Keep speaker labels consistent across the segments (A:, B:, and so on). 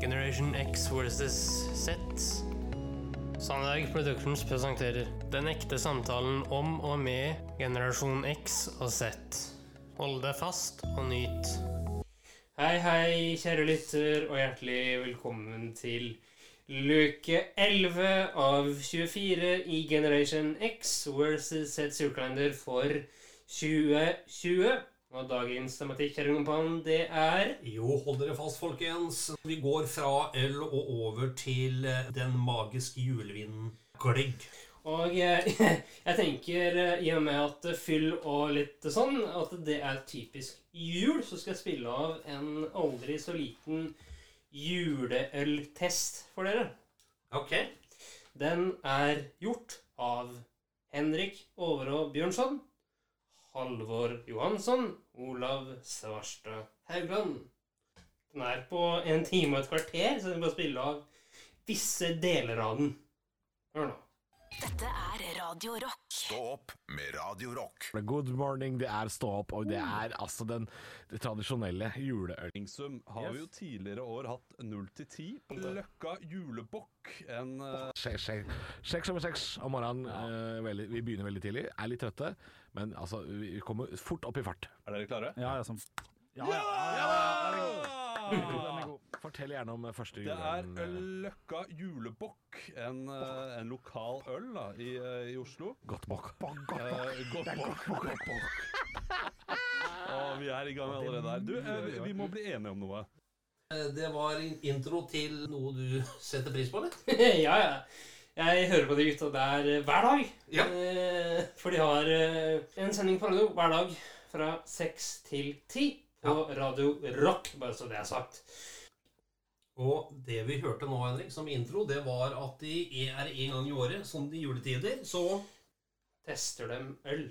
A: Generation X versus Z. Sandberg Productions presenterer Den ekte samtalen om og med generasjon X og Z. Hold deg fast og nyt. Hei, hei, kjære lytter, og hjertelig velkommen til luke 11 av 24 i Generation X versus Zs julekalender for 2020. Og dagens tematikk, kjære kompan, det er
B: Jo, hold dere fast, folkens. Vi går fra øl og over til eh, den magiske julevinen gløgg.
A: Og eh, jeg tenker, eh, i og med at fyll og litt sånn, at det er typisk jul, så skal jeg spille av en aldri så liten juleøltest for dere.
B: Ok.
A: Den er gjort av Henrik Overå Bjørnson, Halvor Johansson, Olav Svarstad Haugland. Den er på en time og et kvarter, så vi må spille av visse deler av den. Hør nå.
C: Dette er Radio Rock.
D: Stå opp med Radio Rock.
E: Good morning, det er stå opp, og det er altså den det tradisjonelle juleøl.
F: Sum har vi jo tidligere år hatt 0 til 10 på Løkka julebukk. En eh,
E: Sjekk, sjekk, sjekk som en sjekk om morgenen. Eh, veldig, vi begynner veldig tidlig, er litt trøtte, men altså, vi kommer fort opp i fart.
F: Er dere klare?
G: Ja, ja, som Ja, ja! Den er god.
E: Fortell gjerne om første
F: Det er
E: juleølen.
F: eh, Løkka julebukk, en, eh, en lokal øl da, i, eh, i Oslo.
E: Godt bok.
F: Eh, Godt bukk. Godt bukk. Å, vi er i gang allerede der. Du, eh, vi- vi må bli enige om noe.
B: Eh, Det var en intro til noe du setter pris på, eller?
A: ja, ja. Jeg hører på de gutta der eh, hver dag.
B: Ja.
A: Eh, for de har eh, en sending på radio hver dag fra seks til ti på Radio Rock, bare så det er sagt.
B: Og det vi hørte nå, Henrik, som intro, det var at de er en gang i året, som de juletider, så
A: Tester dem øl.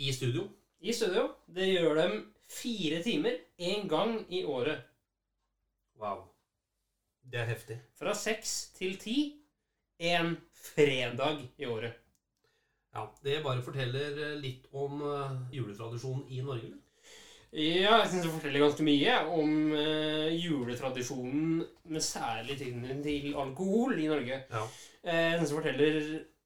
B: i studio.
A: I studio. Det gjør dem fire timer én gang i året.
B: Wow. Det er heftig.
A: Fra seks til ti en fredag i året.
B: Ja, Det bare forteller eh, litt om eh, juletradisjonen i Norge. eller?
A: Ja, jeg syns det forteller ganske mye om eh, juletradisjonen med særlig tilknytning til alkohol i Norge.
B: Ja.
A: Eh, jeg syns det forteller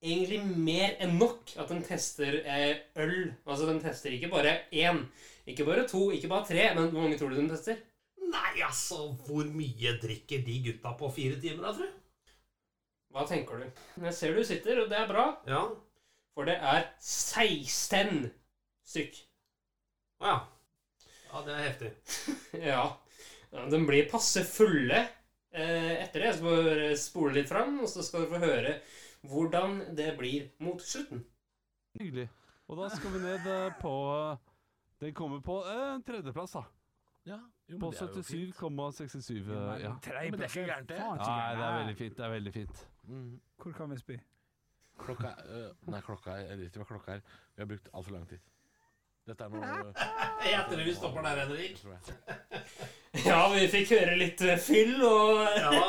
A: egentlig mer enn nok at den tester eh, øl. Altså, den tester ikke bare én, ikke bare to, ikke bare tre, men hvor mange tror du den tester?
B: Nei, altså, hvor mye drikker de gutta på fire timer, da, tror du?
A: Hva tenker du? Men Jeg ser du sitter, og det er bra,
B: Ja.
A: for det er 16 stykk.
B: Å ja. Ja, det er heftig.
A: Ja. Ja, De blir passe fulle eh, etter det. Så må du bare spole litt fram, og så skal du få høre hvordan det blir mot slutten.
F: Hyggelig. Og da skal vi ned eh, på Den kommer på eh, tredjeplass, da.
E: Ja, jo, men
F: På
E: det er jo fint.
F: 77,67. eh, Ja.
E: Ja, men det er ikke gærent, det.
G: Faen, ikke
F: Nei, det er
G: gærent.
F: veldig fint. Det er veldig fint.
G: Hvor kan vi spy?
E: Mm. Klokka er øh, Nei, klokka er Jeg driter i hva klokka er. Vi har brukt altfor lang tid. Dette er noe
B: Jeg tror vi stopper der, Henrik.
E: tror jeg.
A: Ja, vi fikk høre litt eh, fyll og eh,
B: Ja,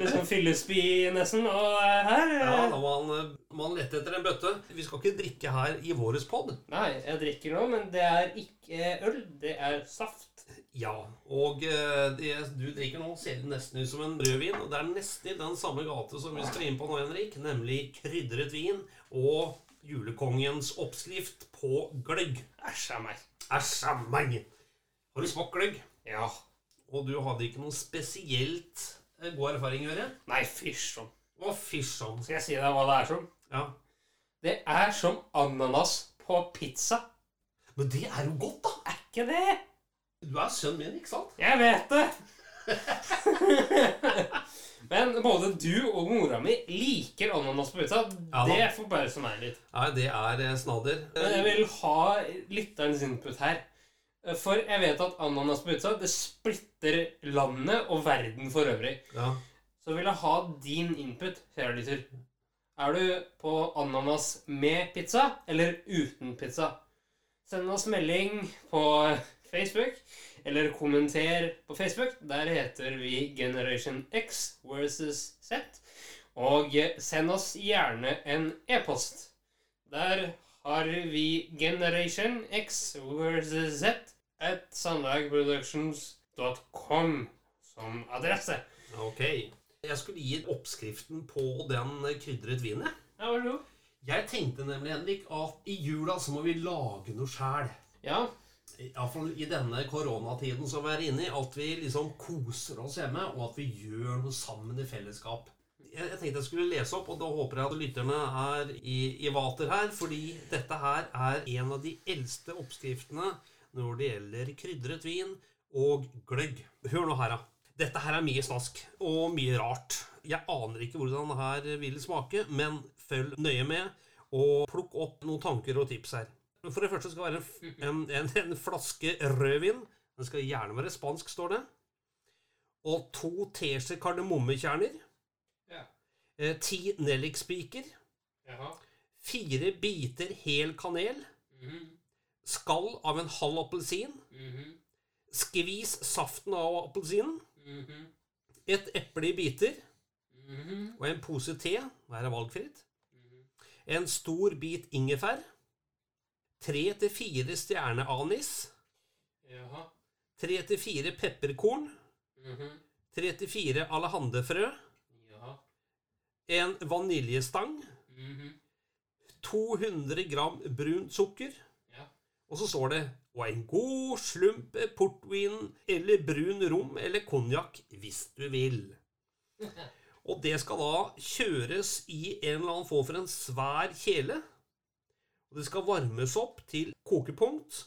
A: litt sånn fyllespy nesten. Og eh, her eh,
B: ja da må han, eh, må han lette etter en bøtte. Vi skal ikke drikke her i våres pod.
A: Nei, jeg drikker nå, men det er ikke øl. Det er saft.
B: Ja, og eh, det du drikker nå, ser nesten ut som en brødvin. Og det er nesten i den samme gate som vi skal inn på nå, Henrik. Nemlig krydret vin og julekongens oppskrift på gløgg.
A: Æsj a meg.
B: Æsj a meg! Har du smakt gløgg?
A: Ja.
B: Og du hadde ikke noen spesielt eh, god erfaring, hører jeg?
A: Nei, fysj sånn.
B: Å, fysj sånn.
A: Skal jeg si deg hva det er som?
B: Ja.
A: Det er som ananas på pizza.
B: Men det er jo godt, da!
A: Er ikke det?
B: Du er sønnen min, ikke sant?
A: Jeg vet det! Men både du og mora mi liker ananas på pizza.
B: Ja da.
A: Det forbauser meg litt.
B: Nei, det er eh, snadder.
A: Men jeg vil ha lytterens input her. For jeg vet at ananas på pizza det splitter landet og verden for øvrig.
B: Ja.
A: Så vil jeg ha din input, kjære lytter. Er du på ananas med pizza eller uten pizza? Send oss melding på Facebook, eller kommenter på Facebook. Der heter vi Generation X versus Z. Og send oss gjerne en e-post. Der har vi Generation X versus Z at sandagproductions.com. som adresse.
B: Ok. Jeg skulle gi oppskriften på den krydret vinen. jeg.
A: Ja, vær så god.
B: Jeg tenkte nemlig, Henrik, at i jula så må vi lage noe sjæl.
A: Ja.
B: Iallfall i denne koronatiden som vi er inne i. At vi liksom koser oss hjemme, og at vi gjør noe sammen i fellesskap. Jeg, jeg tenkte jeg skulle lese opp, og da håper jeg at lytterne er i, i vater her. Fordi dette her er en av de eldste oppskriftene når det gjelder krydret vin og gløgg. Hør nå her, da. Dette her er mye snask og mye rart. Jeg aner ikke hvordan det her vil smake, men følg nøye med, og plukk opp noen tanker og tips her. For det første skal det være en, f- en, en, en flaske rødvin. Den skal gjerne være spansk, står det. Og to teskjeer kardemommekjerner.
A: Ja.
B: Eh, ti nellikspiker.
A: Jaha.
B: Fire biter hel kanel.
A: Mhm.
B: Skall av en halv appelsin. Skvis saften av appelsinen.
A: Mhm.
B: Et eple i biter. Og en pose te. Her er valgfritt. En stor bit ingefær. Tre til fire stjerneanis.
A: Jaha. Mhm.
B: Tre til fire pepperkorn. Tre til fire alehandefrø.
A: Jaha.
B: En vaniljestang.
A: Mhm.
B: 200 gram brunt sukker.
A: Ja.
B: Og så står det Og en god slump portvin eller brun rom eller konjakk hvis du vil. Og det skal da kjøres i en eller annen form for en svær kjele. Og det skal varmes opp til kokepunkt.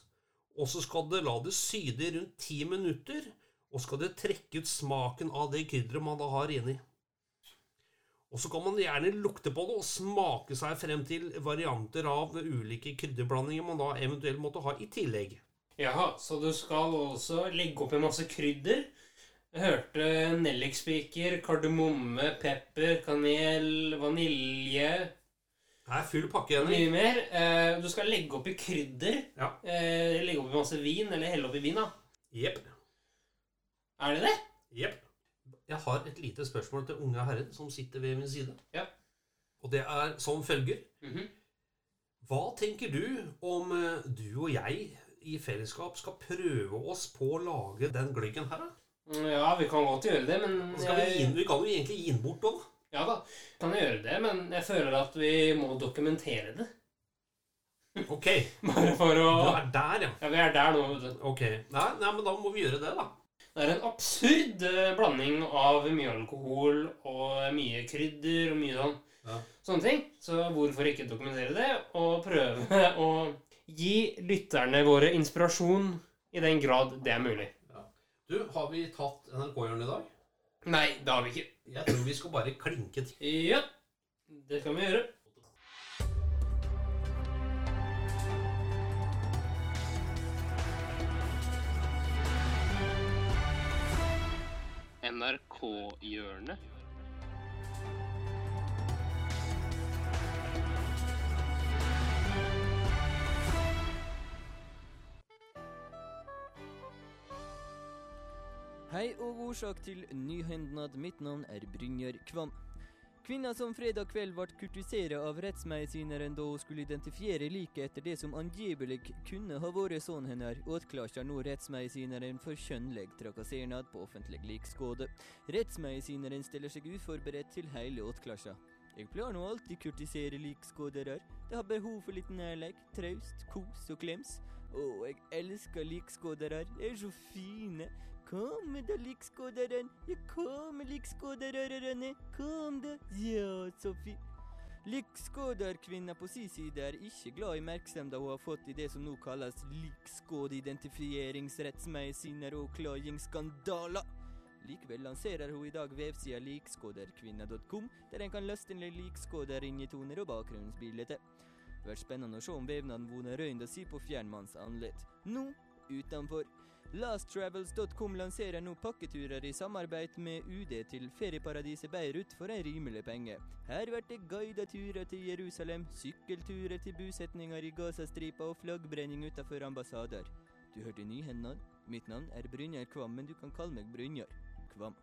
B: Og så skal det la det syde i rundt ti minutter. Og skal det trekke ut smaken av det krydderet man da har inni. Og så kan man gjerne lukte på det og smake seg frem til varianter av ulike krydderblandinger man da eventuelt måtte ha i tillegg.
A: Jaha, så du skal også legge opp en masse krydder. Jeg hørte nellikspiker, kardemomme, pepper, kanel, vanilje
B: Det er full pakke,
A: og
B: Henrik.
A: mye mer. Eh, Du skal legge opp i krydder.
B: Ja.
A: Eh, Legge opp i masse vin, eller helle opp i vin, da.
B: Jepp.
A: Er det det?
B: Jepp. Jeg har et lite spørsmål til unge herren som sitter ved min side.
A: Ja.
B: Og det er som følger.
A: Mhm.
B: Hva tenker du om eh, du og jeg i fellesskap skal prøve oss på å lage den gløggen her, da?
A: Mm, Ja, vi kan godt gjøre det, men
B: Og Skal vi, gi,
A: jeg-
B: den- vi kan jo egentlig gi den bort òg.
A: Ja da, kan jeg gjøre det, men jeg føler at vi må dokumentere det.
B: Ok,
A: Bare for å
B: du er der, ja.
A: Ja, vi er der nå, vet du.
B: Ok, nei, nei, men da må vi gjøre det, da.
A: Det er en absurd eh, blanding av mye alkohol og mye krydder og mye sånn.
B: Ja.
A: Sånne ting. Så hvorfor ikke dokumentere det, og prøve å gi lytterne våre inspirasjon i den grad det er mulig?
B: Du, har vi tatt NRK-hjørnet i dag?
A: Nei, det har vi ikke.
B: Jeg tror vi skal bare klinke til.
A: Ja, det kan vi gjøre. NRK-hjørnet.
H: Hei og årsak til nyhendnad. Mitt navn er Brynjar Kvam. Kvinna som fredag kveld ble kurtisert av rettsmedisineren da hun skulle identifiere liket etter det som angivelig kunne ha vært sønnen hennes, åtklarer nå rettsmedisineren for kjønnlig trakassering på offentlig likskåde. Rettsmedisineren stiller seg uforberedt til hele åtklaringa. Jeg pleier nå alltid kurtisere likskådere. De har behov for litt nærleik, traust, kos og klems. Å, jeg elsker likskådere. De er så fine. Kom da, likskåderen. Ja, kom, likskåderørerne. Kom da. Ja, så fint. Likskåderkvinna på si side er ikke glad i merksomheten hun har fått i det som nå kalles likskådeidentifieringsrettsmedisiner og klagingsskandaler. Likevel lanserer hun i dag vevsida likskåderkvinna.com, der en kan laste inn likskåderringetoner og bakgrunnsbilder. Det blir spennende å se om vevnaden vunner røynda si på fjernmannsanledd. Nå utenfor. Lasttravels.com lanserer nå pakketurer i samarbeid med UD til ferieparadiset Beirut for en rimelig penge. Her blir det guidede turer til Jerusalem, sykkelturer til bosetninger i Gazastripa og flaggbrenning utenfor ambassader. Du hørte nyhendene. Mitt navn er Brynjar Kvam, men du kan kalle meg Brynjar Kvam.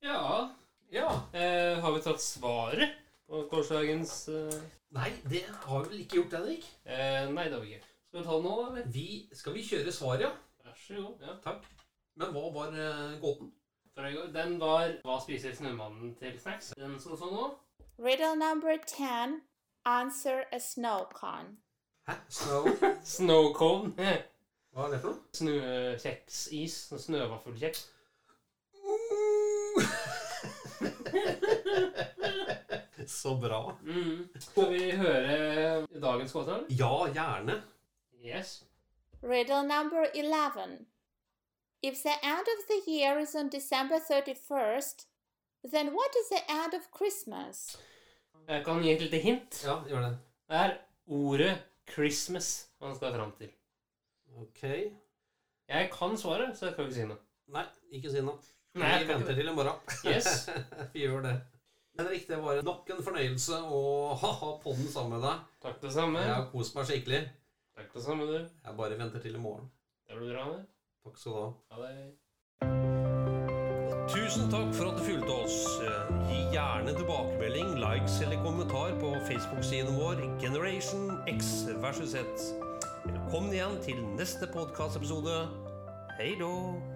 A: Ja,
B: Ja.
A: eh, har vi tatt svaret på gårsdagens eh,
B: Nei, det har vi vel ikke gjort, Henrik.
A: eh, Nei, det har vi ikke. Skal vi ta den nå, eller?
B: Vi, skal vi kjøre svaret, ja?
A: Vær så god. Ja.
B: Takk. Men hva var eh, gåten?
A: Fra i går. Den var Hva spiser snømannen til snacks? Den som så sånn nå?
I: Riddle number 10. Answer a snow cone.
B: Hæ? Snow?
A: Snowcone.
B: Hva er det for noe?
A: Snøkjeksis. Sånn Snøvaffelkjeks.
B: Så bra.
A: Mm. Skal vi høre dagens gåte? eller?
B: Ja, gjerne.
A: Yes.
I: Riddle number 11. If the end of the year is on December 31st, then what is the end of Christmas?
A: Jeg kan gi et lite hint.
B: Ja, gjør det.
A: Det er ordet 'Christmas' man skal fram til.
B: Ok.
A: Jeg kan svaret, så jeg kan ikke si noe.
B: Nei, ikke si noe.
A: Nei, jeg
B: vi
A: kan ikke
B: venter til i morgen.
A: Yes.
B: vi gjør det. Henrik, det var nok en fornøyelse å ha podden sammen med deg.
A: Takk det samme.
B: Jeg har kost meg skikkelig.
A: Takk det samme, du.
B: Jeg bare venter til i morgen.
A: Det blir bra, det.
B: Takk skal du ha.
A: Ha det.
B: Tusen takk for at du fulgte oss. Eh, Gi gjerne tilbakemelding, likes eller kommentar på Facebook-siden vår Generation X versus Z. Velkommen igjen til neste podkastepisode. Hei då!